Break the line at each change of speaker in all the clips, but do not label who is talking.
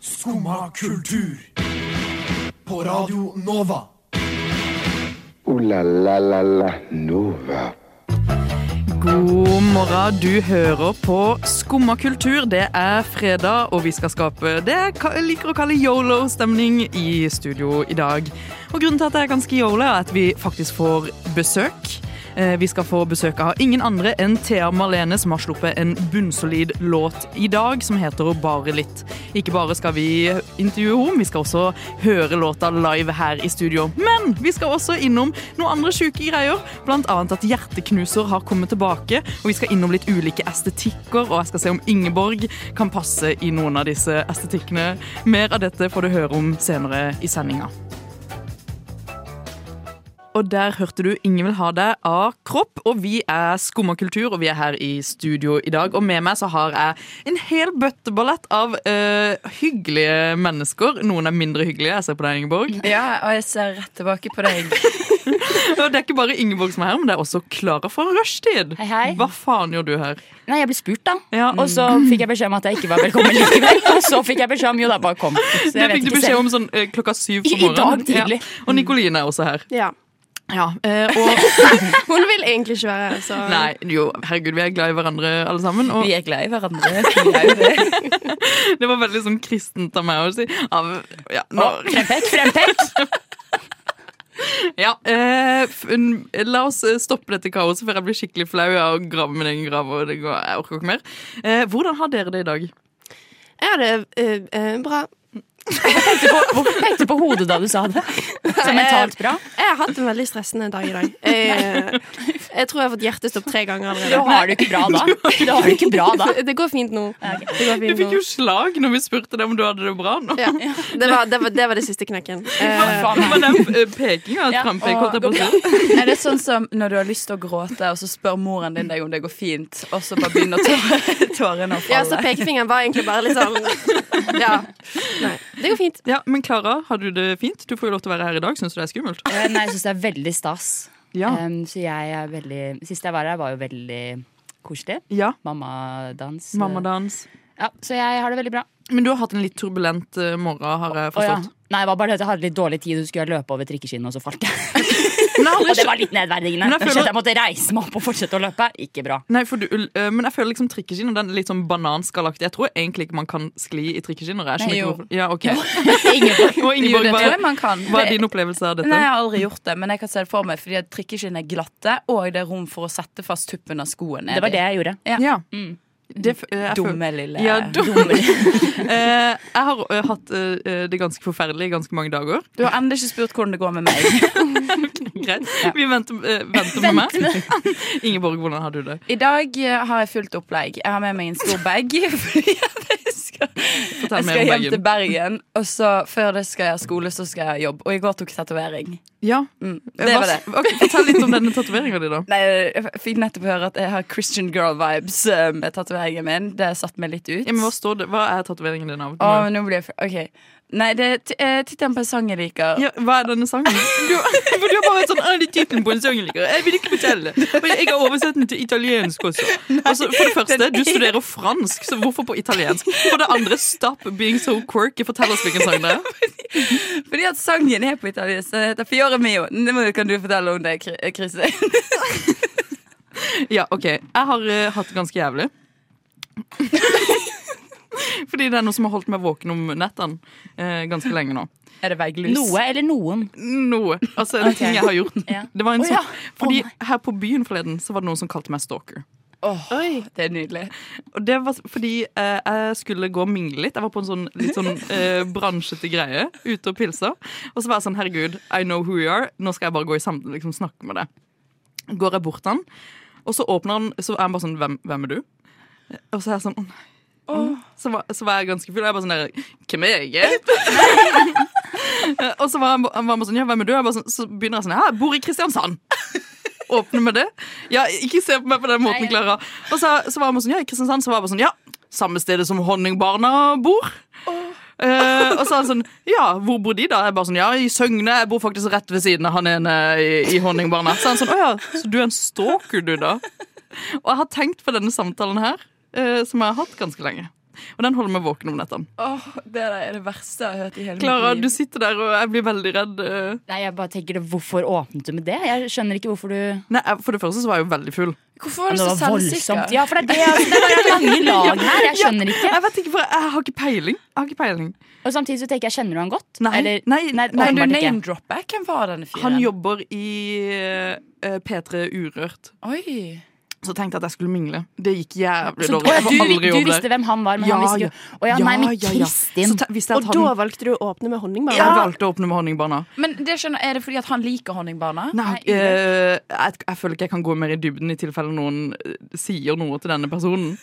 Skumma kultur. På Radio Nova.
Ooh la la la la Nova.
God morgen, du hører på Skumma kultur. Det er fredag, og vi skal skape det jeg ka- liker å kalle yolo-stemning i studio i dag. Og Grunnen til at det er ganske yolo, er at vi faktisk får besøk. Eh, Vi skal få besøk av ingen andre enn Thea Marlene, som har sluppet en bunnsolid låt i dag, som heter Bare litt. Ikke bare skal vi intervjue henne, vi skal også høre låta live her i studio. Men vi skal også innom noen andre sjuke greier, blant annet at Hjerteknuser har kommet tilbake, og vi skal innom litt ulike estetikker, og jeg skal se om Ingeborg kan passe i noen av disse estetikkene. Mer av dette får du høre om senere i sendinga. Og der hørte du Ingen vil ha deg av Kropp. Og vi er Skumma kultur, og vi er her i studio i dag. Og med meg så har jeg en hel bøtteballett av eh, hyggelige mennesker. Noen er mindre hyggelige. Jeg ser på deg, Ingeborg.
Ja, og jeg ser rett tilbake på deg.
Og det er ikke bare Ingeborg som er her, men det er også Klara fra Rushtid.
Hei, hei.
Hva faen gjør du her?
Nei, jeg ble spurt, da.
Ja,
Og så fikk jeg beskjed om at jeg ikke var velkommen likevel. Og så fikk jeg beskjed om jo da, bare kom. Så
Det
jeg vet
fikk du
ikke
beskjed
selv.
om sånn eh, klokka syv på
I- i dag
morgenen.
tidlig.
Ja. Og Nikoline er også her.
Ja.
Ja, eh, og
Hun vil egentlig ikke være her, så
Nei, jo, herregud, vi er glad i hverandre alle sammen. Og
Vi er glad i hverandre. Vi er jo det.
det var veldig sånn kristent av meg å si. Av, ja, nå,
Å, Frempek, frempek!
Ja, eh, f- n- La oss eh, stoppe dette kaoset før jeg blir skikkelig flau av å grave min egen grav. og det går, jeg orker ikke mer. Eh, hvordan har dere det i dag?
Jeg har det eh, eh, bra.
Tenkte på, hvorfor pekte du på hodet da du sa det?
Eh,
Så mentalt bra.
Jeg har hatt en veldig stressende dag i dag. Jeg, eh, jeg tror jeg har fått hjertestopp tre ganger
Da
allerede.
har du ikke bra da. Da har du ikke bra da.
Det går fint nå. Det, går
Du
fint
fikk jo
nå.
slag når vi spurte deg om du hadde det bra. nå.
Ja. Det, var, det, var, det var det siste knekken. Eh,
Faen,
Det var den eh, pekinga.
Ja,
trampek, holdt jeg på å si.
Er det sånn som når du har lyst til å gråte, og så spør moren din deg om det går fint, og så bare begynner tå- tårene å
ja, så
falle?
pekefingeren var egentlig bare litt sånn Ja. Nei, det går fint.
Ja, men Klara, har du det fint? Du får jo lov til å være her i dag. Syns du det er skummelt?
Eh, Nei, jeg syns det er veldig stas.
Ja.
Em, så jeg er veldig Sist jeg var her, var jo veldig koselig.
Ja.
Mammadans.
Mammadans.
Ja, så jeg har det veldig bra.
Men du har hatt en litt turbulent eh, morgen, har jeg
Å, ja.
forstått.
Nei, det var bare det at jeg hadde litt dårlig tid, og så skulle jeg løpe over trikkeskinnet, og så falt jeg.
Men jeg har
Og
aldri
det var litt nedverdigende.
Men jeg
Jeg,
føler-
jeg måtte reise meg opp og fortsette å løpe. Ikke bra.
Nei, for du, eh, men jeg føler liksom trikkeskinn og den er litt sånn bananskallaktig. Jeg tror egentlig ikke man kan skli i trikkeskinn. og jeg skjønner
Nei,
ikke
jo.
hvorfor- Ja, ok. Og
Ingeborg.
Jo,
Ingeborg,
det tror jeg
hva,
man kan.
hva er din opplevelse av dette?
Nei, Jeg har aldri gjort det, men jeg kan se det for meg fordi at trikkeskinn er glatte, og det er rom for å sette fast tuppen av skoen.
Det var det jeg gjorde.
Ja. Det, f- eh, jeg føl-
Dumme lille
Ja, dumme.
lille.
Eh, jeg har eh, hatt eh, det ganske forferdelig i ganske mange dager.
Du har ennå ikke spurt hvordan det går med meg.
Greit. Vi venter, eh, venter med meg. Ingeborg, hvordan har du det?
I dag eh, har jeg fullt opplegg. Jeg har med meg en stor bag. Fordi at jeg skal, jeg
Fortell mer
skal
om
hjem
bagen.
til Bergen, og så før det skal jeg ha skole, så skal jeg ha jobb. Og i går tok jeg tatovering.
Ja,
Mm,
eh,
det
hva-
var det.
ok, fortell litt om denne tatoveringa di, da.
Nei, jeg fikk nettopp høre at jeg har Christian girl-vibes eh, med tatoveringen min. Det satte meg litt ut.
Ja, men hva, står det? hva er tatoveringen din av?
Å, men nå blir jeg f- OK. Nei, det er t- eh, tittelen på en sang jeg liker.
Ja, hva er denne sangen? Du, for du har bare vært sånn «Ah, det er tittelen på en sang jeg liker. Jeg vil ikke fortelle. Men jeg har oversett den til italiensk også. Altså, for det første, du studerer fransk, så hvorfor på italiensk? For det andre, stop being so quirky. Fortell oss hvilken sang det er.
Fordi at sangen er på italiensk. Den heter Fiore mio. Det må- kan du fortelle om det, Kri- eh, Chris.
Ja, ok. Jeg har eh, hatt det ganske jævlig. Fordi det er noe som har holdt meg våken om nettene eh, ganske lenge nå.
er det vegglus?
Noe eller noen.
Noe. Altså, en ting jeg har gjort.
Ja.
Det var en
Å,
sånn,
ja.
fordi her på byen forleden så var det noen som kalte meg stalker.
Oi.
Det er nydelig.
Og det var fordi eh, jeg skulle gå og mingle litt. Jeg var på en sånn litt sånn eh, bransjete greie ute og pilsa. Og så var jeg sånn, herregud, I know who you are. Nå skal jeg bare gå i sammen, liksom snakke med deg. Går jeg bort til han, og så åpner han, så er han bare sånn, hvem, hvem er du? Og så er jeg sånn, å nei. Så, var, så var jeg ganske full, og jeg bare sånn der, hvem er jeg? Eh, og så var han, ba- han var bare sånn, ja, hvem er du? Jeg bare sånn, så begynner jeg sånn, ja, jeg bor i Kristiansand. Åpne med det. Ja, ikke se på meg på den måten, Klara. Og så, så var han bare sånn, ja, i Kristiansand så var jeg bare sånn, ja, samme stedet som honningbarna bor. Eh, og så er han sånn, ja, hvor bor de da? Jeg bare sånn, ja, i Søgne, jeg bor faktisk rett ved siden av han ene i, i honningbarna. Så er han sånn, åja, så du er en stalker du da? Og jeg har tenkt på denne samtalen her, eh, som jeg har hatt ganske lenge. Og den holder meg våken om nettene.
Åh, Det der er det verste jeg har hørt i hele
Klara,
mitt
du
liv.
sitter der, og jeg blir veldig redd. eh.
Nei, jeg bare tenker det, Hvorfor åpnet du med det? Jeg skjønner ikke hvorfor du
Nei, jeg- For det første så var jeg jo veldig full.
Hvorfor var
Men
du
Det
så
var voldsomt.
selvsikker?
Ja, for det er det altså, det er mange lag her. Jeg skjønner ikke.
Jeg vet ikke, for jeg har ikke peiling. Jeg har ikke peiling.
Og samtidig så tenker jeg kjenner du han godt?
Nei,
Eller,
nei,
Kan du
åpenbart ikke.
name-droppe? Hvem var denne fyren?
Han jobber i eh, P3 Urørt.
Oi.
Så tenkte jeg at jeg skulle mingle. Det gikk jævlig
Så,
dårlig. Jeg
du,
får aldri
du
jobb
visste
der.
hvem han var, men han
Ja,
visste
ja.
ikke Å ja, nei, men
Ja, ja, ja.
Kristin.
Så te- visste jeg
Og
at
da
han
valgte du å åpne med honningbarn.
Jeg valgte å åpne med honningbarna.
Men det skjønner, Er det fordi at han liker honningbarna?
Nei, eh, jeg, jeg føler ikke jeg kan gå mer i dybden i tilfelle noen eh, sier noe til denne personen.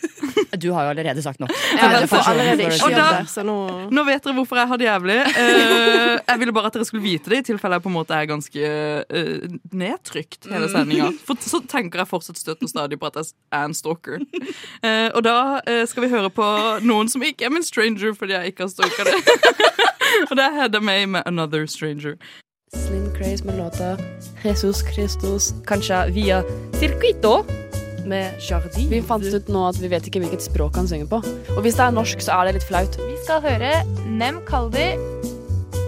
Du har jo allerede sagt nok.
Ja, du får
Derfor-
allerede
Og da-
ikke jobb der, så nå
Nå vet dere hvorfor jeg har det jævlig. Eh, jeg ville bare at dere skulle vite det, i tilfelle jeg på en måte er ganske eh, nedtrykt hele sendinga. For så tenker jeg fortsatt støtt og stadig på at jeg er en stalker. Eh, og da eh, skal vi høre på noen som ikke er min stranger fordi jeg ikke har stalka det. og det er Hedda May med 'Another Stranger'.
Slim Craze med låta Jesus Christus, kanskje via Circuito med Jardin. Vi fant ut nå at vi vet ikke hvilket språk han synger på. Og hvis det er norsk, så er det litt flaut.
Vi skal høre Nem Kaldi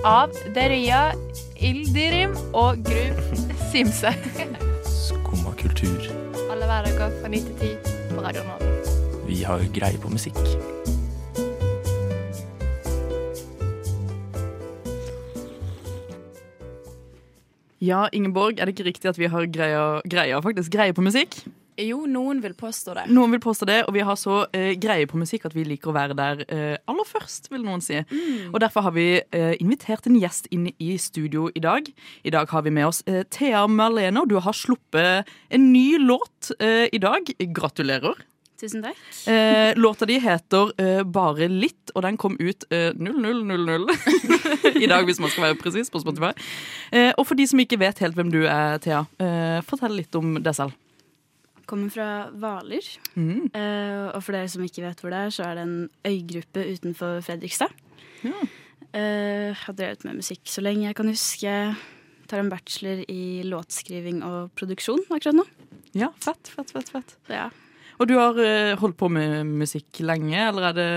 av Deria Ildirim og Gru Simse.
Skumma kultur.
Alle hverdager fra 9 til 10 på Radio Nova.
Vi har greie på musikk.
Ja, Ingeborg, er det ikke riktig at vi har greia, greia faktisk, greie på musikk?
Jo, noen vil påstå det.
Noen vil påstå det, og vi har så eh, greie på musikk at vi liker å være der eh, aller først, vil noen si. Og derfor har vi eh, invitert en gjest inn i studio i dag. I dag har vi med oss eh, Thea Marlene, og du har sluppet en ny låt eh, i dag. Gratulerer.
Tusen takk.
Eh, låta di heter eh, Bare litt, og den kom ut eh, 0000 i dag, hvis man skal være presis, på Spotify. Eh, og for de som ikke vet helt hvem du er, Thea, eh, fortell litt om deg selv.
Kommer fra Hvaler. Eh, og for dere som ikke vet hvor det er, så er det en øygruppe utenfor Fredrikstad. Eh, har drevet med musikk så lenge jeg kan huske. Tar en bachelor i låtskriving og produksjon akkurat nå.
Ja, fett, fett, fett, fett.
Så ja.
Og du har eh, holdt på med musikk lenge, eller er det,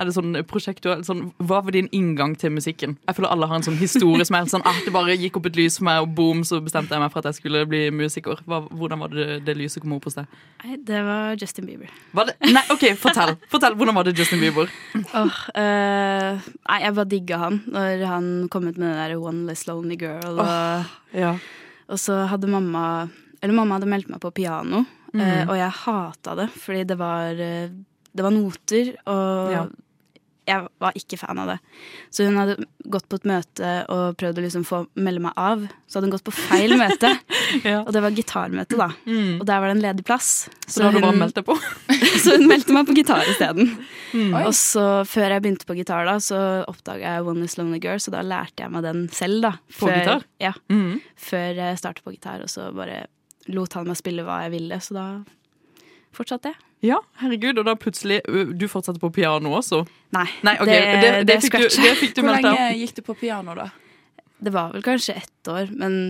er det sånn prosjekt du har sånn, Hva var din inngang til musikken? Jeg føler alle har en sånn historie som er helt sånn ah, Det bare gikk opp et lys for meg, og boom, så bestemte jeg meg for at jeg skulle bli musiker. Hva, hvordan var det det lyset kom opp hos deg?
Nei, det var Justin Bieber.
Var det, nei, OK, fortell. Fortell, Hvordan var det Justin Bieber?
Åh, eh, nei, jeg bare digga han når han kom ut med den der One Less Lonely Girl. Og,
Ja.
og så hadde mamma Eller mamma hadde meldt meg på piano,
Mm.
eh, og jeg hata det fordi det var, eh, det var noter, og
Ja.
jeg var ikke fan av det. Så hun hadde gått på et møte og prøvd å liksom få melde meg av. Så hadde hun gått på feil møte,
Ja. Mm.
og det var gitarmøte, da. Og der var det en ledig plass.
Så, um, da har du bare meldt deg på?
så hun meldte meg på gitar isteden.
Mm.
Og så før jeg begynte på gitar, da, så oppdaga jeg One Is Lonely Girl, så da lærte jeg meg den selv, da.
På gitar?
Ja.
Mhm.
Før jeg starta på gitar, og så bare lot han meg spille hva jeg ville, så da fortsatte jeg.
Ja, herregud, og da plutselig ø, Du fortsatte på piano også?
Nei,
Nei, ok, det, det, fikk, du, det fikk du
Hvor
meldt deg
lenge gikk du på piano, da?
Det var vel kanskje ett år, men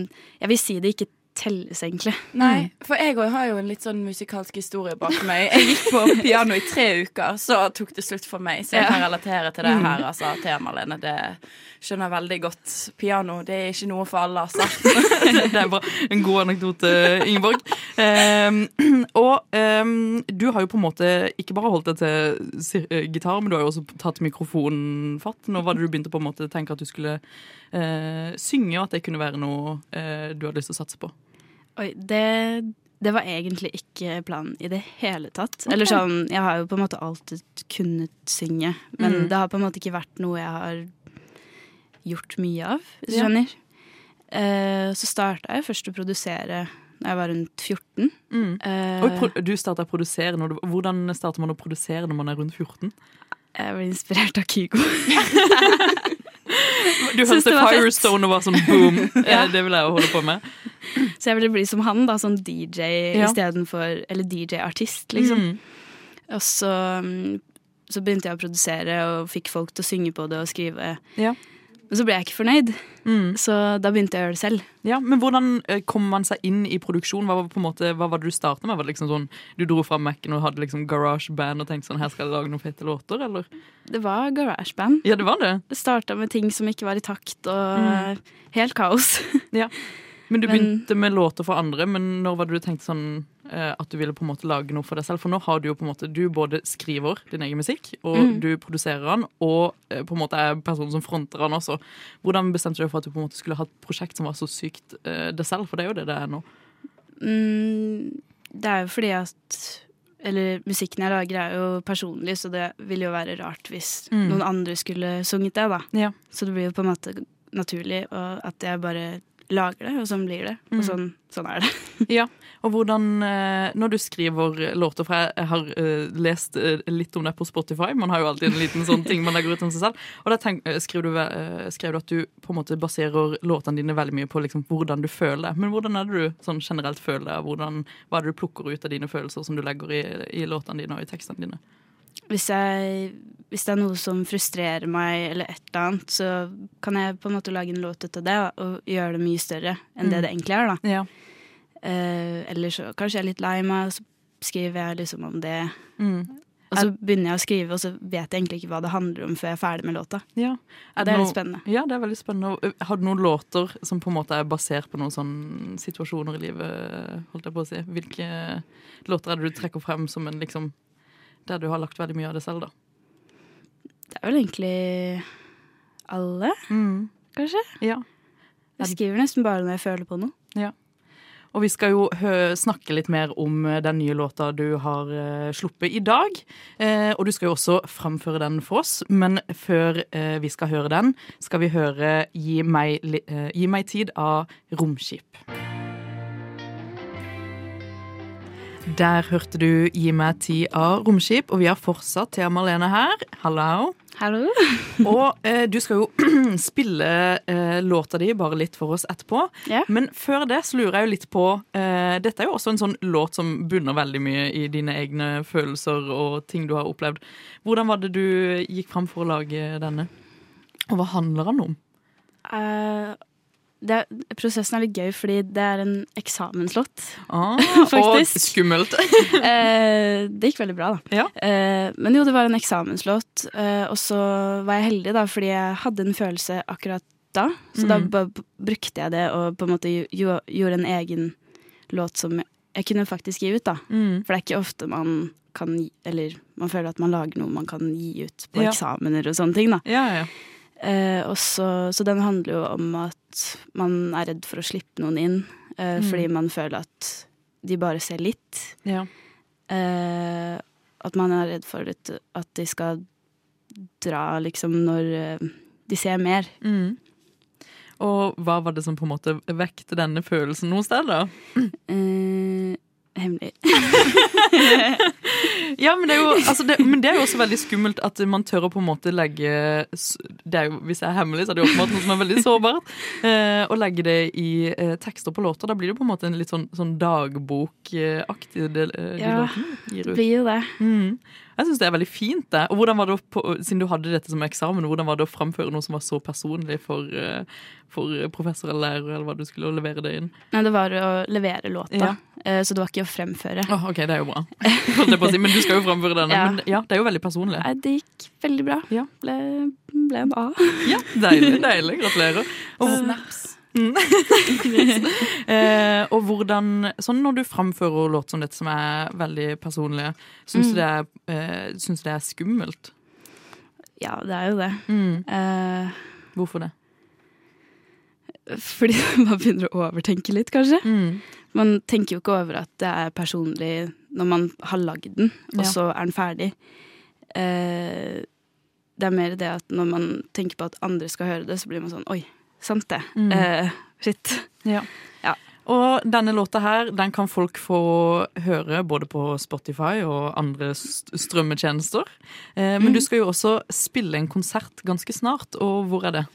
jeg vil si det ikke telles, egentlig.
Nei, for jeg òg har jo en litt sånn musikalsk historie bak meg. Jeg gikk på piano i tre uker, så tok det slutt for meg. Så jeg kan relatere til det her, altså. Temaet, Lene, det skjønner jeg veldig godt. Piano, det er ikke noe for alle, altså.
Det er bra. En god anekdote, Ingeborg. Ehm, og ehm, du har jo på en måte ikke bare holdt deg til sir- eh, gitar, men du har jo også tatt mikrofonfatt. Nå var det du begynte på en måte å tenke at du skulle eh, synge, og at det kunne være noe eh, du hadde lyst til å satse på.
Oi, det, det var egentlig ikke planen i det hele tatt. Eller sånn, jeg har jo på en måte alltid kunnet synge, men det har på en måte ikke vært noe jeg har gjort mye av, hvis du
Ja.
skjønner. Eh, så starta jeg først å produsere da jeg var rundt 14. Eh,
Mm. Og pro du starta å produsere når du, Hvordan starter man å produsere når man er rundt 14?
jeg ble inspirert av Kygo.
Du
Synes
hørte
det var fett.
Firestone og var sånn boom! Eh, Det vil jeg jo holde på med.
Så jeg ville bli som han, da, sånn DJ
Ja.
istedenfor Eller DJ-artist, liksom.
Mm.
Og så, mm, så begynte jeg å produsere og fikk folk til å synge på det og skrive.
Ja. Mm.
Men Men så ble jeg ikke fornøyd, så da begynte jeg å gjøre det selv.
Ja, Men hvordan eh, kom man seg inn i produksjon? Hva var, på en måte, hva var det du startet med? Var det liksom sånn, Du dro fra Mac-en og hadde liksom garage band og tenkte sånn, her skal jeg lage noen fete låter? eller?
Det var garageband.
Ja, det var det.
Det starta med ting som ikke var i takt, og
Mm.
eh, helt kaos.
Ja. Men du
Men-
begynte med låter for andre, men når var det du tenkte sånn eh, at du ville på en måte lage noe for deg selv? For nå har du jo på en måte, du både skriver din egen musikk, og
Mm.
du produserer den, og eh, på en måte er personen som fronter den også. Hvordan bestemte du deg for at du på en måte skulle ha et prosjekt som var så sykt eh, det selv? For det er jo det det er nå.
Mm, det er jo fordi at Eller musikken jeg lager, er jo personlig, så det ville jo være rart hvis
Mm.
noen andre skulle sunget det, da.
Ja.
Så det blir jo på en måte naturlig og at jeg bare lager det, og sånn blir det.
Mm.
Og sånn, sånn er det.
Ja, og hvordan, eh, når du skriver låter, for jeg jeg har eh, lest eh, litt om det på Spotify, man har jo alltid en liten sånn ting man legger ut om seg selv, og da tenk, eh, skrev, du, ve- eh, skrev du at du på en måte baserer låtene dine veldig mye på liksom, hvordan du føler det, men hvordan er det du sånn generelt føler det, hvordan, hva er det du plukker ut av dine følelser som du legger i, i låtene dine og i tekstene dine?
Hvis, jeg, hvis det er noe som frustrerer meg, eller et eller annet, så kan jeg på en måte lage en låt ut av det da, og gjøre det mye større enn
Mm.
det det egentlig er. da.
Ja.
Eh, eller så kanskje jeg er litt lei meg, og så skriver jeg liksom om det.
Mm.
Og så begynner jeg å skrive, og så vet jeg egentlig ikke hva det handler om før jeg er ferdig med låta.
Ja.
det er
noe-
litt spennende.
Ja, det er veldig spennende. Og, eh, Har du noen låter som på en måte er basert på noen sånn situasjoner i livet, holdt jeg på å si? Hvilke låter er det du trekker frem som en liksom Der du har lagt veldig mye av det selv, da?
Det er vel egentlig alle, kanskje.
Mm. Ja.
Jeg skriver nesten bare når jeg føler på noe.
Ja. Og vi skal jo hø snakke litt mer om eh, den nye låta du har eh, sluppet i dag. Eh, og du skal jo også framføre den for oss. Men før eh, vi skal høre den, skal vi høre Gi meg, li eh, Gi meg tid av Romskip. Der hørte du Gi meg tid av Romskip, og vi har fortsatt Thea Marlene her. Hallo.
Hallo.
Og eh, du skal jo spille eh, låta di bare litt for oss etterpå.
Ja.
Men før det så lurer jeg jo litt på eh, Dette er jo også en sånn låt som bunner veldig mye i dine egne følelser og ting du har opplevd. Hvordan var det du gikk fram for å lage denne? Og hva handler den om?
Eh, det er, prosessen er litt gøy, fordi det er en eksamenslåt.
Ah,
Faktisk.
Og skummelt.
Eh, det gikk veldig bra, da.
Ja.
Eh, men jo, det var en eksamenslåt, eh, og så var jeg heldig, da, fordi jeg hadde en følelse akkurat da. Så da
Mm.
bare b- brukte jeg det og på en måte gjo- gjorde en egen låt som jeg kunne faktisk gi ut, da.
Mm.
For det er ikke ofte man kan gi, Eller man føler at man lager noe man kan gi ut på
Ja.
eksamener og sånne ting, da.
Ja, ja.
Eh, og så- så den handler jo om at man er redd for å slippe noen inn, eh,
Mm.
fordi man føler at de bare ser litt.
ja.
Eh, at man er redd for litt at de skal dra liksom når eh, de ser mer.
Mm. Og hva var det som på en måte vekte denne følelsen noe sted, da?
Eh, hemmelig.
Ja, men det, er jo, altså det, men det er jo også veldig skummelt at man tør å på en måte legge s- det er jo, Hvis det er hemmelig, så er det jo åpenbart noe som er veldig sårbart. Eh, å legge det i eh, tekster på låter. Da blir det på en måte en litt sånn, sånn dagbokaktig del eh, de
Ja,
låtene gir
Det
ut.
blir jo det.
Mm. Jeg syns det er veldig fint, det. Og hvordan var det å på, Siden du hadde dette som eksamen, hvordan var det å framføre noe som var så personlig for, eh, for professor eller lærer, eller hva du skulle levere det inn?
Nei, det var å levere låta,
Ja.
eh, så det var ikke å fremføre.
Åh, ok, det er jo bra. Holdt jeg på å si, Men du skal jo framføre denne.
Ja.
Men ja, det er jo veldig personlig.
Nei, det gikk veldig bra.
Ja.
Ble, ble en A.
Ja, deilig, deilig. Gratulerer. Eh, Og, Mm. eh, og hvordan, sånn når du framfører låter som dette, som er veldig personlige, syns du det er, eh, syns du det er skummelt?
Ja, det er jo det. Eh,
Hvorfor det?
Fordi man begynner å overtenke litt, kanskje. Man tenker jo ikke over at det er personlig når man har lagd den,
Ja.
og så er den ferdig. Eh, det er mer det at når man tenker på at andre skal høre det, så blir man sånn Oi, sant det.
Mm.
Eh, shit.
Ja.
Ja.
Og denne låta her, den kan folk få høre både på Spotify og andre st strømmetjenester. Eh, men du skal jo også spille en konsert ganske snart, og hvor er det?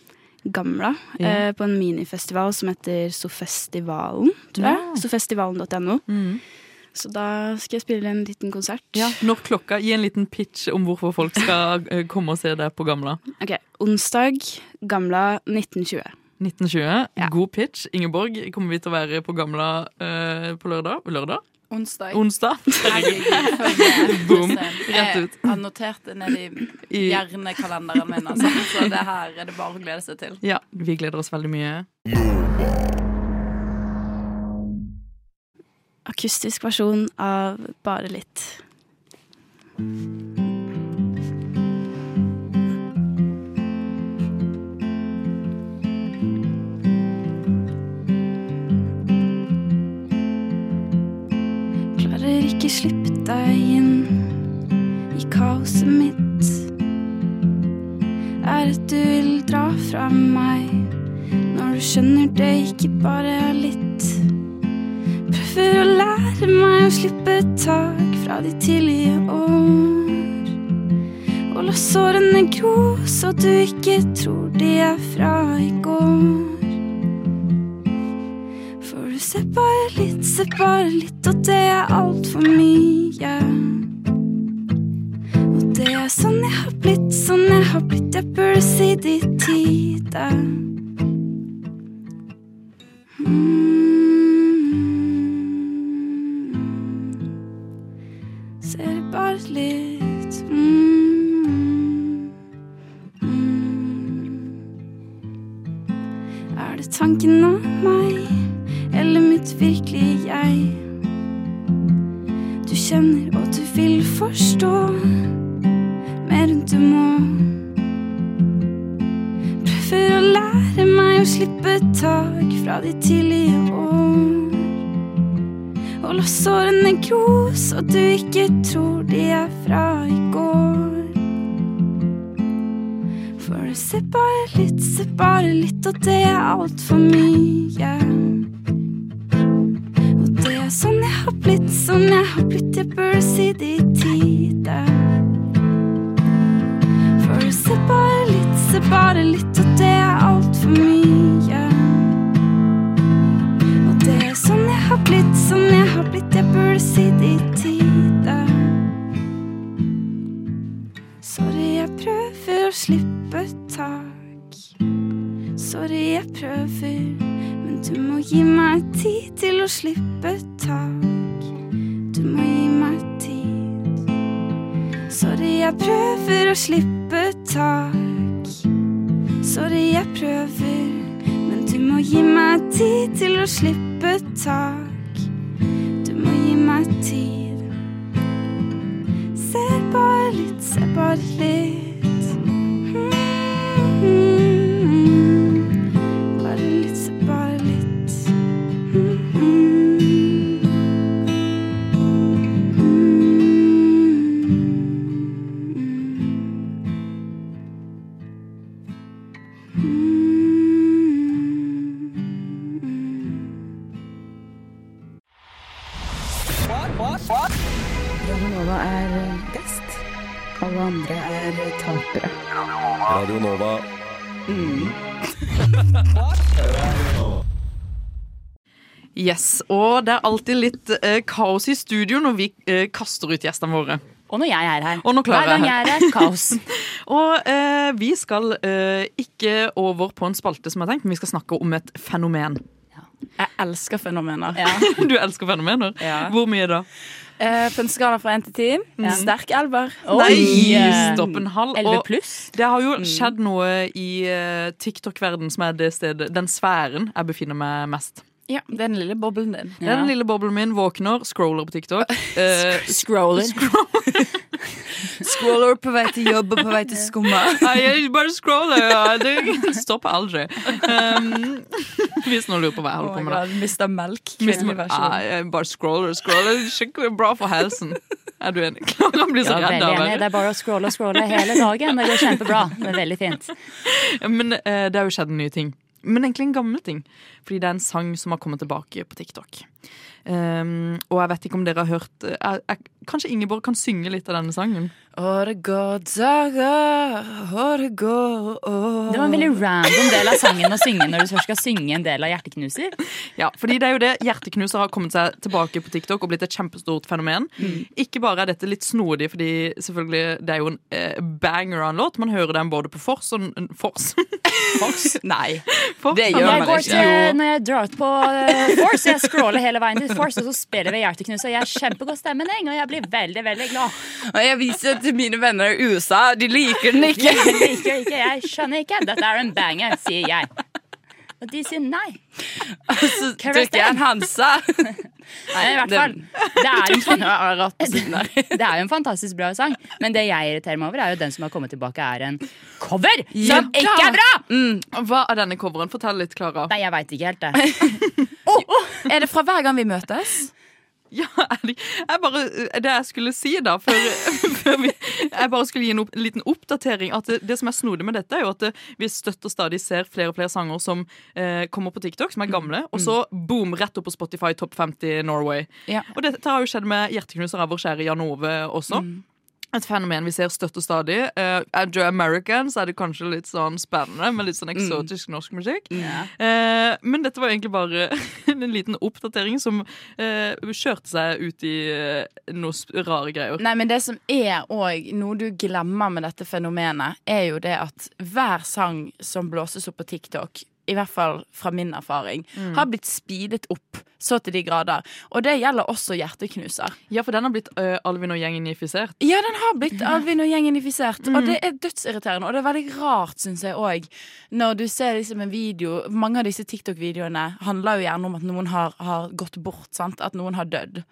Gamla.
Ja.
Eh, på en minifestival som heter Sofestivalen, tror jeg.
Ja. Mm.
Sofestivalen.no. Så da skal jeg spille en liten konsert.
Når klokka, Gi en liten pitch om hvorfor folk skal eh, komme og se deg på Gamla.
Ok, Onsdag, Gamla 1920.
1920. God pitch. Ingeborg, kommer vi til å være på Gamla eh, på lørdag? Lørdag?
Onsdag.
Onsdag?
Herregud, følg med.
Boom. Rett
Jeg
ut.
har notert det ned i
I-
hjernekalenderen min, altså. Så det her er det bare å glede seg til.
Ja, vi gleder oss veldig mye.
Akustisk versjon av Bare litt. Klarer ikke slippe deg inn i kaoset mitt. Er at du vil dra fra meg når du skjønner det ikke bare er litt. Prøver å lære meg å slippe tak fra de tidlige år. Og la sårene gro så du ikke tror de er fra i går. For du ser bare litt, ser bare litt, og det er altfor mye. Og det er sånn jeg har blitt, sånn jeg har blitt, jeg burde si det i tide. Mm. Ser det bare litt mm. Mm. Er det tanken av meg eller mitt virkelige jeg? Du kjenner og du vil forstå mer enn du må. Prøver å lære meg å slippe tak fra de tidlige år. Og la sårene gro så du ikke tror de er fra i går. For det ser bare litt, ser bare litt, og det er altfor mye. Og det er sånn jeg har blitt, sånn jeg har blitt, jeg burde si det i tide. For det ser bare litt, ser bare litt, og det er altfor mye. Og det er sånn jeg har blitt, sånn jeg har blitt, jeg burde si det i tide. Sorry, jeg prøver å slippe tak. Sorry, jeg prøver, men du må gi meg tid til å slippe tak. Du må gi meg tid. Sorry, jeg prøver å slippe tak. Sorry, jeg prøver. Men du må gi meg tid til å slippe tak. Du må gi meg tid. Se bare litt, se bare litt. Hmm. Mm. Bare litt, se bare litt. Hmm. Mm. Hmm.
Radionova er best. Alle andre er tapere.
Radio Nova.
Yes, Og det er alltid litt eh, kaos i studio når vi eh, kaster ut gjestene våre.
Og når jeg er her.
Og når Clara
Hver gang jeg er her, kaos.
og eh, vi skal eh, ikke over på en spalte som jeg har tenkt, men vi skal snakke om et fenomen.
Jeg elsker fenomener.
du elsker fenomener? Hvor mye da?
Eh, på en skala fra én til ti,
Ja.
sterk elver.
Nei, stopp en halv.
Elleve
og Det har jo skjedd noe i eh, TikTok-verden som er det stedet, den sfæren jeg befinner meg mest.
Ja, det er den lille boblen din.
Det er Den lille boblen min våkner, scroller på TikTok. eh,
Scroller.
Scroller på vei til jobb og på vei til skumma.
Nei, jeg bare scroller. Ja. Det stopper aldri. Um, hvis noen lurer på hva jeg holder på med.
Oh
da.
Mista melk.
Mister
kvinnelig
man-
versjon.
Nei, jeg bare scroller og scroller. Det er Skikkelig bra for helsen. Er du enig? Klara blir så
Ja,
redd
veldig
av
enig. Det er bare å scrolle og scrolle hele dagen. Det går kjempebra. Det er veldig fint.
Men eh, det har jo skjedd nye ting. men egentlig en gammel ting. Fordi det er en sang som har kommet tilbake på TikTok. Ehm, og jeg vet ikke om dere har hørt eh, jeg, jeg, Kanskje Ingeborg kan synge litt av denne sangen?
Og det går dager, og det går år
Det var en veldig random del av sangen å synge når du først skal synge en del av Hjerteknuser.
Ja, fordi det er jo det. Hjerteknuser har kommet seg tilbake på TikTok og blitt et kjempestort fenomen.
Mm.
Ikke bare er dette litt snodig, fordi selvfølgelig det er jo en eh, banger av en låt. Man hører den både på fors og n- fors.
Nei.
Det
Når jeg går til, når jeg drar ut på eh, Force, jeg scroller hele veien til Force, og så spiller vi Hjerteknuser. Jeg har kjempegod stemning, og jeg blir veldig, veldig glad.
Og jeg viser det til mine venner i USA. De liker den ikke.
Jeg liker ikke, jeg skjønner ikke. Dette er en banger, sier jeg. Og de sier nei.
Så drikker jeg en Hansa.
Nei, I hvert
det- altså,
fall. Det er, en fan-
rart på siden her.
det er jo en fantastisk bra sang, men det jeg irriterer meg over, er jo den som har kommet tilbake, er en cover
Ja
som ikke er bra!
Mm.
Hva er denne coveren? Fortell litt, Klara.
Nei, jeg veit ikke helt, det.
Er det fra hver gang vi møtes?
Jeg bare, eh, det jeg skulle si da før, før vi, Jeg bare skulle gi en opp, liten oppdatering At det, det som er snodig med dette Er jo at det, vi støtter stadig ser flere og flere sanger Som eh, kommer på TikTok, som er gamle Og så boom, rett opp på Spotify Top 50 Norway
Ja.
Og dette har jo skjedd med hjerteknuser av vår kjære Jan Ove også et fenomen vi ser støtt og stadig. Eh, Er du American, så er det kanskje litt sånn spennende med litt sånn eksotisk norsk musikk. Eh, men dette var egentlig bare en liten oppdatering som eh, kjørte seg ut i uh, noe sp- rare greier.
Nei, men det som er òg noe du glemmer med dette fenomenet, er jo det at hver sang som blåses opp på TikTok, i hvert fall fra min erfaring,
Mm.
har blitt speedet opp så til de grader. Og det gjelder også hjerteknuser.
Ja, for den har blitt eh, Alvin og gjengen infisert.
Ja, den har blitt Alvin og gjengen infisert.
Mm.
Og det er dødsirriterende. Og det er veldig rart, syns jeg òg, når du ser liksom en video Mange av disse TikTok-videoene handler jo gjerne om at noen har, har gått bort, sant? At noen har dødd.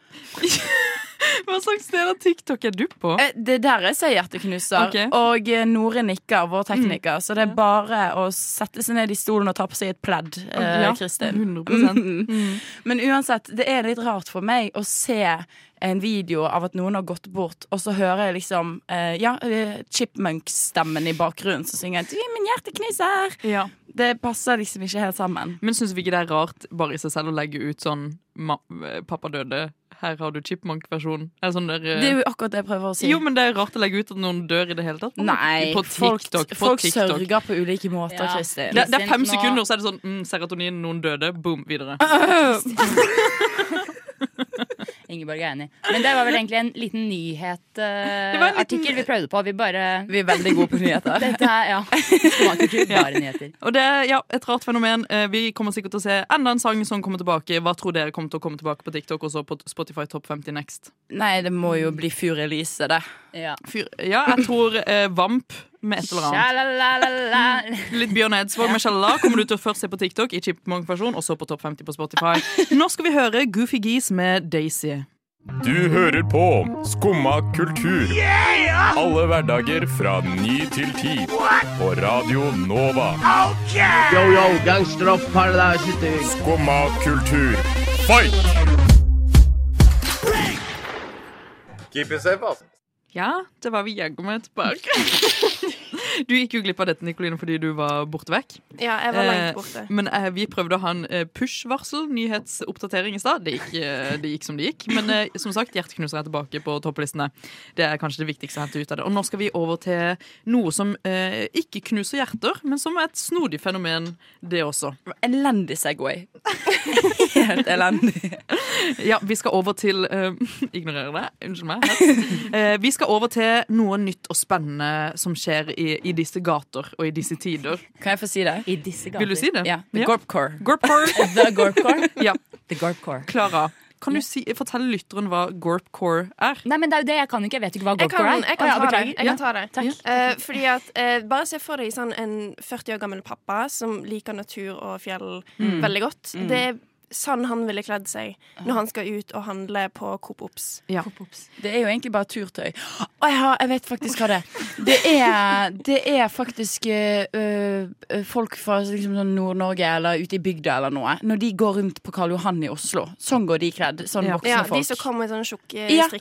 Hva slags del av TikTok er du på?
Eh, Det der jeg sier hjerteknuser.
Ok.
Og eh, Nore nikker, vår tekniker. Så det er bare å sette seg ned i stolen og ta på seg et pledd, eh,
Ja,
Kristin.
100%.
Mhm. Men uansett, det er litt rart for meg å se en video av at noen har gått bort, og så hører jeg liksom eh, ja, eh, Chipmunks-stemmen i bakgrunnen som synger Du er min hjerteknuser!
Ja.
Det passer liksom ikke helt sammen.
Men syns vi ikke det er rart bare i seg selv å legge ut sånn ma Pappa døde, her har du chipmunk-versjon? Eller sånn der eh,
Det er jo akkurat det jeg prøver å si.
Jo, men det er rart å legge ut at noen dør i det hele tatt.
Nei,
på
folk-
TikTok. På
folk
TikTok.
sørger på ulike måter,
Ja.
Kristin.
Det, det er fem
Nå-
sekunder, så er det sånn mm, serotonin, noen døde, boom, videre.
Ah,
Ingeborg er enig. Men det var vel egentlig en liten
Det var en liten-
nyhetartikkel vi prøvde på. Vi bare
Vi er veldig gode på nyheter.
Dette er, ja. Smaker
Ja.
bare nyheter.
Og det er ja, et rart fenomen. Eh, Vi kommer sikkert til å se enda en sang som kommer tilbake. Hva tror dere kommer til å komme tilbake på TikTok og så på Spotify Top 50 next?
Nei, det må jo bli Fyr Elise, det.
Ja.
Fyr, ja, jeg tror eh, Vamp med et eller annet.
Sjalalala.
Litt Bjørn Eidsvåg med Shalala kommer du til å først se på TikTok i Chipmunk-versjon, og så på Topp 50 på Spotify. Nå skal vi høre Goofy Geese med Daisy.
Du hører på Skumma kultur. Alle hverdager fra ny til ti. På Radio Nova.
Yo, yo, gangsteropp, paradise
Skumma kultur. Fight!
Keep it safe, ass.
Ja, det var vi jaggu meg tilbake. Du gikk jo glipp av dette, Nikoline, fordi du var borte vekk.
Ja, jeg var langt borte.
Eh, Men eh, vi prøvde å ha en eh, push-varsel, nyhetsoppdatering i stad. Det, gikk, eh, det gikk som det gikk. Men eh, som sagt, hjerteknuser er tilbake på topplistene. Det er kanskje det viktigste å hente ut av det. Og nå skal vi over til noe som eh, ikke knuser hjerter, men som er et snodig fenomen, det også.
Elendig Segway. Helt elendig.
Ja, vi skal over til eh, Ignorer det. Unnskyld meg. hets. Eh, vi skal over til noe nytt og spennende som skjer i, i disse gater og i disse tider.
Kan jeg få si det?
I disse gater.
Vil du si det?
Ja. The
Ja.
Gorpcore.
Gorpcore.
The Gorpcore?
Ja.
The Gorpcore.
Klara, kan du si, fortelle lytteren hva gorpcore er?
Nei, men det er jo det jeg kan ikke. Jeg vet ikke hva
Jeg
Gorpcore
kan,
er.
jeg
Å, ja,
kan ta det.
beklager.
Jeg
Ja.
kan ta det.
Takk.
Eh, fordi at, eh, bare se for deg sånn, en 40 år gammel pappa som liker natur og fjell
Mm.
veldig godt.
Mm.
Det er
sånn han ville kledd seg når han skal ut og handle på Coop Ops.
Ja. Det er jo egentlig bare turtøy. Å, jeg, har, jeg vet faktisk hva det er. Det er, det er faktisk eh, øh, folk fra liksom, sånn Nord-Norge eller ute i bygda eller noe. Når de går rundt på Karl Johan i Oslo. Sånn går de kledd. Sånn voksne
Ja,
folk.
de som kommer i sånn tjukke
Ja, Hvorfor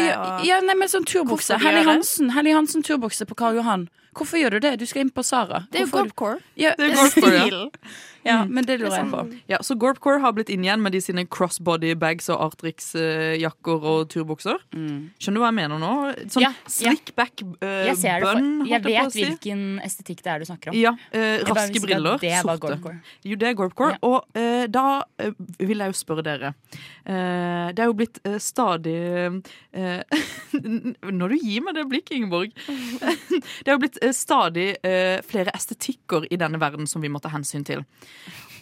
strikkegenser
gjør, ja, nei, men sånn turbukse.
Hvorfor gjør
Helly
det?
Hansen, Helly Hansen turbukse på Karl Johan. Hvorfor gjør du det? Du skal inn på Sara.
Det er jo gorpcore.
Ja,
Det er gorpcore, ja.
stil. Ja, men det sånn- lurer jeg på.
Ja, så Gorpcore har blitt inn igjen med de sine crossbody bags og Artrix-jakker og turbukser. Skjønner du hva jeg mener nå? Sånn
Mm. Ja, ja.
slick back eh,
Jeg, ser det for,
bun, holdt
jeg
på å
vet
si.
hvilken estetikk det er du snakker om.
Ja, eh,
Jeg bare
raske
visste ikke at
briller.
Det var
sorte.
gorpcore.
Jo, det er gorpcore. Og eh, da eh, vil jeg jo spørre dere. Eh, det er jo blitt eh, stadig eh, Når du gir meg det blikket, Ingeborg. det er jo blitt eh, stadig eh, flere estetikker i denne verden som vi må ta hensyn til.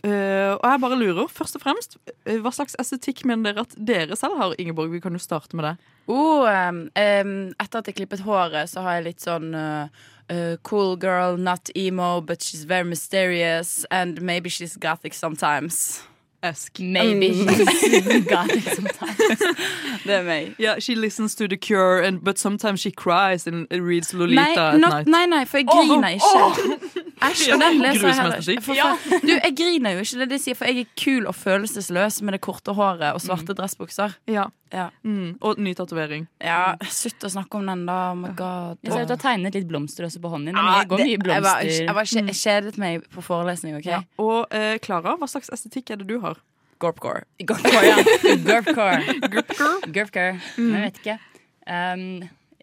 Eh, og jeg bare lurer, først og fremst, eh, hva slags estetikk mener dere at dere selv har, Ingeborg? Vi kan jo starte med det.
Oh, em, em, etter at jeg klippet håret, så har jeg litt sånn eh, eh, Cool girl, not emo, but she's very mysterious, and maybe she's gothic sometimes.
Esk.
Maybe
Mm.
she's gothic sometimes. det er meg.
Yeah, she listens to The Cure, and, but sometimes she cries and reads
Nei,
Lolita at
not-
night.
nei, nei, for jeg griner ikke. Æsj, og den leser jeg heller
Grusmesterstikk.
ikke. For, for, du, jeg griner jo ikke, det er det jeg sier, for jeg er kul og følelsesløs med det korte håret og svarte dressbukser.
Ja.
Ja.
Mm, og ny tatovering.
Ja, slutt å snakke om den, da. Oh my god.
Jeg ser ut til å ha tegnet litt blomster også på hånden din.
Ja,
det går
det-
mye
jeg var-
blomster.
jeg var kje- jeg kjedet meg på forelesning, OK?
Ja. Og eh, Klara, hva slags estetikk er det du har?
Gorpcore.
Gurpcore. Gurpcore.
Mm.
Jeg vet ikke. Um,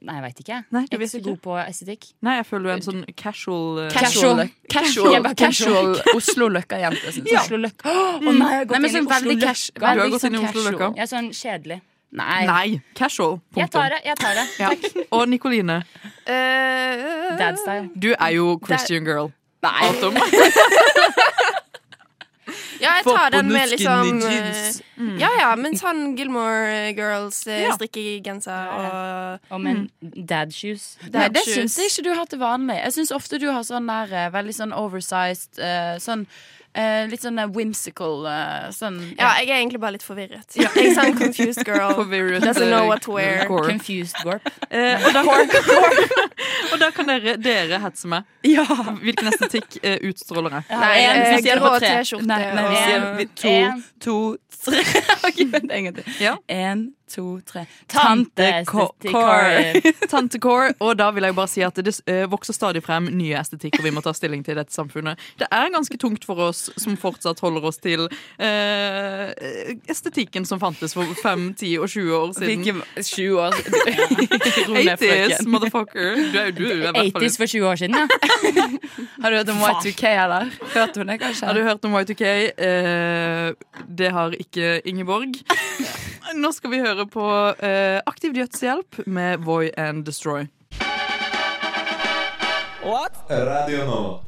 nei, jeg veit ikke.
Nei,
jeg er ikke så god på estetikk.
Nei, jeg føler du er en sånn casual eh,
Casual. Casual,
Jeg bare
casual
casual.
Oslo-løkka-jente, syns jeg.
Oslo Løkka. Å nei, jeg har gått
sånn. Nei, men
inn i
sånn
Oslo
veldig
Løkka.
cash- veldig
Du har gått inn i
sånn
Oslo
casual.
Løkka.
Jeg er sånn kjedelig.
Nei. Casual. Punktum.
Jeg tar det. jeg tar det
Ja. Og Nikoline,
Eh,
Dad style.
du er jo Christian girl.
Nei.
Alt om.
Ja, jeg tar den med liksom
Forbunden skinny
eh,
jeans. Mm.
Ja, ja, men sånn Gilmore Girls eh, strikkegenser og
Om en dad shoes.
Nei, det syns jeg ikke du har til vanlig. Jeg syns ofte du har sånn der eh, veldig sånn oversized eh, Sånn eh, litt sånn eh, whimsical eh, sånn
Ja, jeg er egentlig bare litt forvirret. Jeg er sånn confused girl.
Forvirret,
Doesn't know
eh,
what to wear.
gorp.
Confused gorp.
Eh, og, da kan, og da kan dere, dere hetse meg. Hvilken estetikk eh, utstråler jeg?
Nei,
En,
eh,
vi sier det på
grå
tre.
T-skjorte.
Nei, nei, vi sier
og-
vi- to,
En.
to, tre. OK, vent en gang til. En, to, tre. Tante-core.
Tante Core. Og da vil jeg bare si at det eh, vokser stadig frem nye estetikker vi må ta stilling til i dette samfunnet. Det er ganske tungt for oss som fortsatt holder oss til eh, estetikken som fantes for 5, 10 og 20 år siden.
Hvilke 20 år? Ro ned,
80s,
frøken.
motherfucker. Du er jo du. er i hvert fall-
80s for 20 år siden, ja.
Har du hørt om Y2K, eller? Hørte hun det, kanskje?
Har du hørt om Y2K? Eh, det har ikke Ingeborg. Nå skal vi høre på eh, Aktiv dødshjelp med Voy and Destroy.
Radio Nova.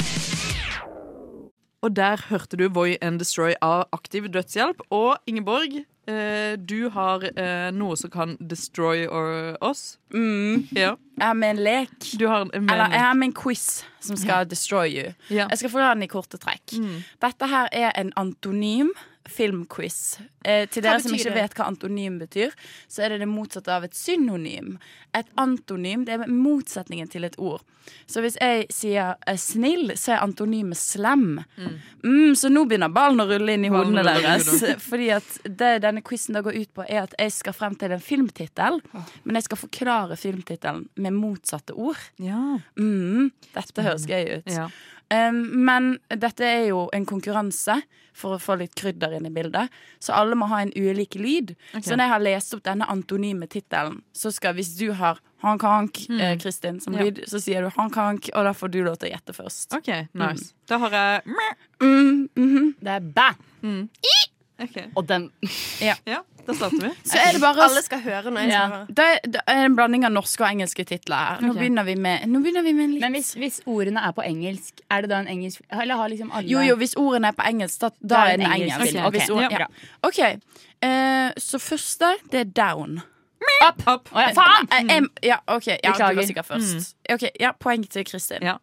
Og der hørte du Voy and Destroy av Aktiv dødshjelp. Og Ingeborg, eh, du har eh, noe som kan destroy or, oss.
Mm.
Ja.
Jeg har med en lek.
Du har en
Eller jeg har med en quiz som skal destroy you.
Ja.
Jeg skal forklare den i korte trekk.
Mm.
Dette her er en antonym filmquiz. Eh, til
Hva
dere som
betyr
ikke
det?
vet hva antonym betyr, så er det det motsatte av et synonym. Et antonym det er motsetningen til et ord. Så hvis jeg sier eh, snill, så er antonymet slem. Mm. så nå begynner ballen å rulle inn i
Ballen
hodene
ruller inn i
deres.
hodet.
Fordi at det denne quizen da går ut på, er at jeg skal frem til en filmtittel.
Ah.
Men jeg skal forklare filmtittelen med motsatte ord. Mm, dette høres gøy ut.
Ja.
Um, men dette er jo en konkurranse for å få litt krydder inn i bildet. Så alle må ha en ulik lyd.
Ok.
Så når jeg har lest opp denne antonyme tittelen, så skal hvis du har hank-hank,
Mm.
eh, Kristin, som
Ja.
lyd, så sier du hank-hank, og da får du lov til å gjette først.
OK, nice. Da har jeg
Mm, mhm.
Det er bæ. Og den
Ja.
da starter vi.
Så er det bare
Alle skal høre når jeg
Ja.
svarer.
Det, det er en blanding av norske og engelske titler her. Nå
Ok.
begynner vi med Nå begynner vi med en litt
Men hvis, hvis ordene er på engelsk, er det da en engelsk Eller har liksom alle
Jo, jo, hvis ordene er på engelsk, da, da er den engelsk.
film. Ok,
Hvis ord-
ja,
ja.
bra.
OK. eh, så første, det er down.
Opp! Å, ja, faen!
Eh, eh, em, ja, OK. Ja, du var
Beklager. Mm.
sikkert først. Ok, ja, Poeng til Kristin. Nå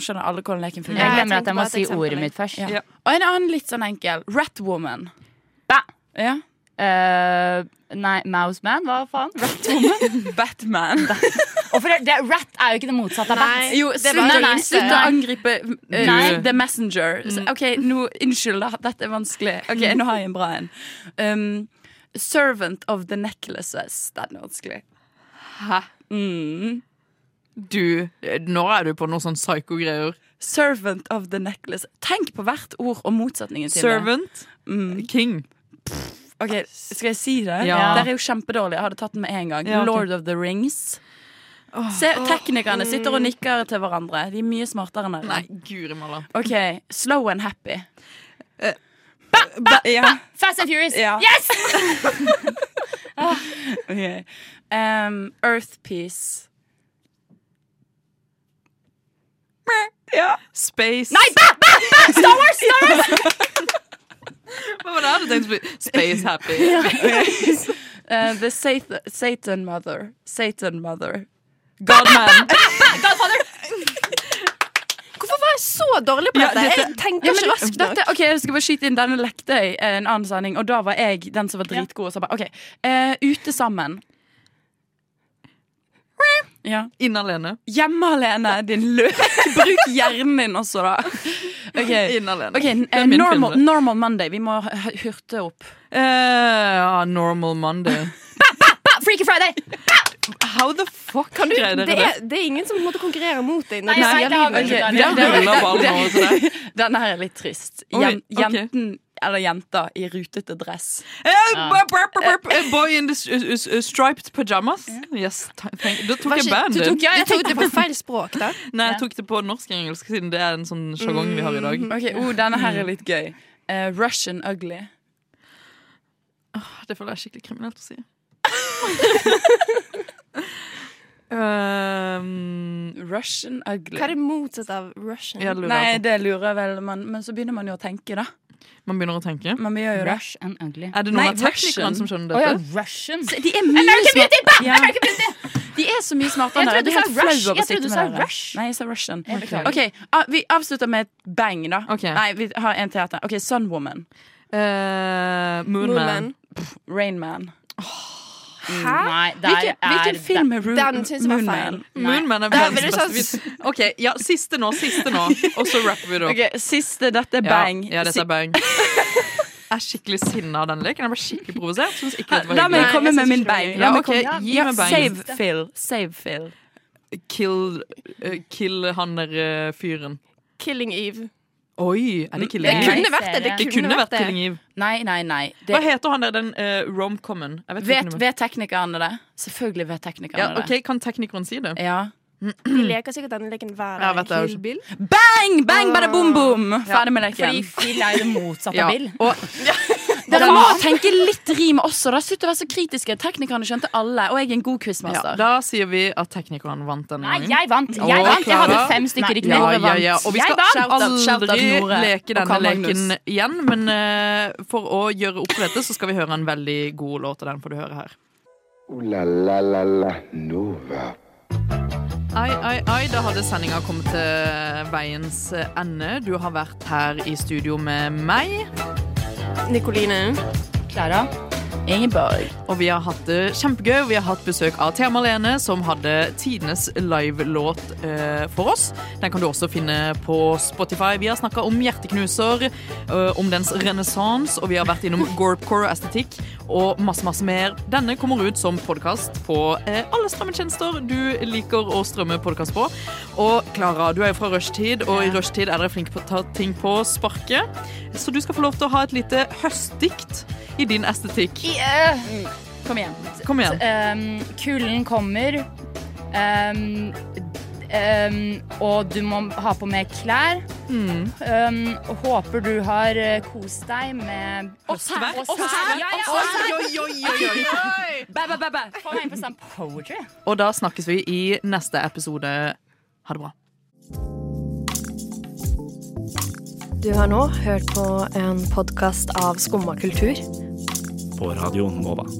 skjønner alle hvordan leken
Jeg
fungerer.
glemmer at jeg må si ordet mitt først.
Ja. Og en annen litt sånn enkel. Ratwoman. Ja.
Eh, nei, Mouseman, hva faen? Ratwoman?
Batman.
Hvorfor er det, rat er jo ikke det motsatte av bat.
Jo, slutt,
Nei, nei,
slutt å
nei.
angripe eh,
Nei.
The Messenger.
Mm.
Så, OK, nå, unnskyld, da. Dette er vanskelig. OK, nå har jeg en bra en. Um, servant of the necklaces. Den er vanskelig. Hæ? Mm.
Du, eh, nå er du på noe sånn psyko-greier.
Servant of the necklace. Tenk på hvert ord og motsetningen til
Servant.
det. Mm.
King.
OK, skal jeg si det?
Ja.
Dere er jo kjempedårlige. Jeg hadde tatt den med en gang.
Ja, ok.
Lord of the Rings. Se, teknikerne sitter og nikker til hverandre. De er mye smartere enn dere.
Nei, guri malla.
OK. Slow and happy.
Fast and Furious.
Ja.
Yes!
Ok. Um, Earth Peace.
Space.
Nei, bæ, bæ, bæ! Star Wars! Star Wars!
Hva var det jeg hadde tenkt å bli? Space happy.
Uh, the Satan, Satan Mother. Satan Mother.
Godman.
Hvorfor var jeg så dårlig
på dette? Jeg tenker ikke raskt nok.
Dette, ok, jeg skal bare skyte inn Denne lekte jeg eh, en annen sending, og da var jeg den som var dritgod. Og så bare, ok, eh, Ute sammen. Ja.
Inne alene.
Hjemme alene, din løk. Bruk hjernen din også, da. Ok.
Inne alene.
Ok,
Det er
eh,
min
normal,
filmrett.
normal Monday. Vi må h- h- hurte opp.
Eh, ja, normal Monday.
Bæ, Freaky Friday!
How the fuck kan du
Det er, det er ingen som på en måte konkurrerer mot deg. Når
Nei,
du
jeg
sier
vet,
livet.
jeg
Ok,
Ja,
den-
vi ruller
den-
ballen
den-
over til
Den her er litt trist.
Oi,
Jen,
ok.
Jenten eller jenta i rutete dress.
Eh, burp, burp, burp, burp. Eh, Boy in the s- s- s- striped pajamas. Yes, ta- thank- Da tok jeg bandet.
Du tok, du tok det på feil språk, da.
Nei, jeg tok det på norsk og engelsk, siden det er en sånn sjargong vi har i dag.
Ok, oh, Denne her er litt gøy. Eh, Russian ugly.
Ah, Det føler jeg er skikkelig kriminelt å si. um,
Russian ugly.
Hva er det motsatt av Russian?
Jeg lurer
Nei,
på.
det lurer vel man, Men så begynner man jo å tenke, da.
man begynner å tenke.
Man gjør jo det.
Rush and ugly.
Er det noen
Nei,
av teknikerne
Russian.
som skjønner
Å ja,
dette?
Russian.
De er mye
American Beauty! Bæ,
Ja.
American Beauty!
De er så mye smartere
Jeg
enn
trodde
dere.
du
Det er helt
sa Rush.
flau over å
Jeg
sitte
trodde du
med
sa
dere.
Rush.
Nei, jeg sa Russian.
Jeg beklager.
Ok, ah, Vi avslutter med et bang, da.
Ok.
Nei, vi har en til her. Ok, Sunwoman.
Eh, Moonman.
Moonman.
Rainman.
Hæ?
Mm, Nei, der
Hvilken,
er
hvilken film er Ru-
Den synes jeg var feil.
Moonman?
Moonman er
Det er
verdens
veldig
beste vits. OK, ja, siste nå, siste nå. Og så rapper vi det opp.
Ok, Siste. Dette er bang.
Ja, ja, dette er bang. Jeg er skikkelig sinna av den leken. Jeg ble skikkelig provosert. Synes ikke dette var
Da må jeg
hyggelig.
komme
jeg
med
synes
min
ikke det var
bang.
hyggelig.
La
Ja,
meg
ok,
komme-
gi
Ja,
meg bang.
Save Phil. Save Phil.
Kill, eh, kill han der eh, fyren.
Killing Eve.
Oi, er det Killing
Det
Nei,
Eve?
kunne vært det.
serie.
Det
Det kunne vært Killing Eve.
Nei, nei, nei.
Hva
Det,
heter han der, den uh, romcomen? Jeg vet
vet,
ikke
vet teknikerne det? Selvfølgelig vet teknikerne
ja, ok,
det.
Kan teknikeren si det?
Ja.
De leker sikkert denne leken hver
Jeg vet det, jeg
dag.
vet
Hillbill.
Bang, bang, bada boom, boom! Ferdig med
Fordi
leken.
Phil er jo det motsatte
Ja.
av Bill.
Og,
Dere må tenke litt rim også. da Slutt å være så kritiske. Teknikerne skjønte alle, og jeg er en god
ja,
quizmaster.
da sier vi at teknikeren vant denne
Nei,
gangen.
jeg vant.
Å,
Jeg vant. Jeg hadde
Clara.
fem stykker riktig.
ja, ja, ja. Og vi
Jeg
skal
vant.
Shout out, shout out
aldri
Nore
leke
og
denne
Karl Magnus.
leken igjen, men eh, for å gjøre opp for dette, så skal vi høre en veldig god låt av den, får du høre her.
Ooh la la la la Nova.
Ai, ai, ai, da hadde sendinga kommet til veiens ende. Du har vært her i studio med meg.
Nikoline.
Klara.
Ingeborg.
Og vi har hatt det kjempegøy. Vi har hatt besøk av Thea Marlene, som hadde tidenes livelåt eh, for oss. Den kan du også finne på Spotify. Vi har snakka om hjerteknuser, eh, om dens renessanse, og vi har vært innom gorpcore og estetikk og masse, masse mer. Denne kommer ut som podkast på eh, alle strømmetjenester du liker å strømme podkast på. Og Klara, du er jo fra rushtid, og i rushtid er dere flinke på å ta ting på sparket. Så du skal få lov til å ha et lite høstdikt i din estetikk.
eh, Kom igjen.
Kom igjen.
Um, kulden kommer. Um, um, og du må ha på mer klær.
Mm.
Um, håper du har eh, kost deg med
Ostverk.
Og svær. Ja, ja, og svær.
Oi, oi, oi, oi.
Bæ, bæ, bæ, bæ. Få meg inn på sånn poetry.
Og da snakkes vi i neste episode. Ha det bra.
Du har nå hørt på en podkast av Skumma kultur.
På Radio Nova.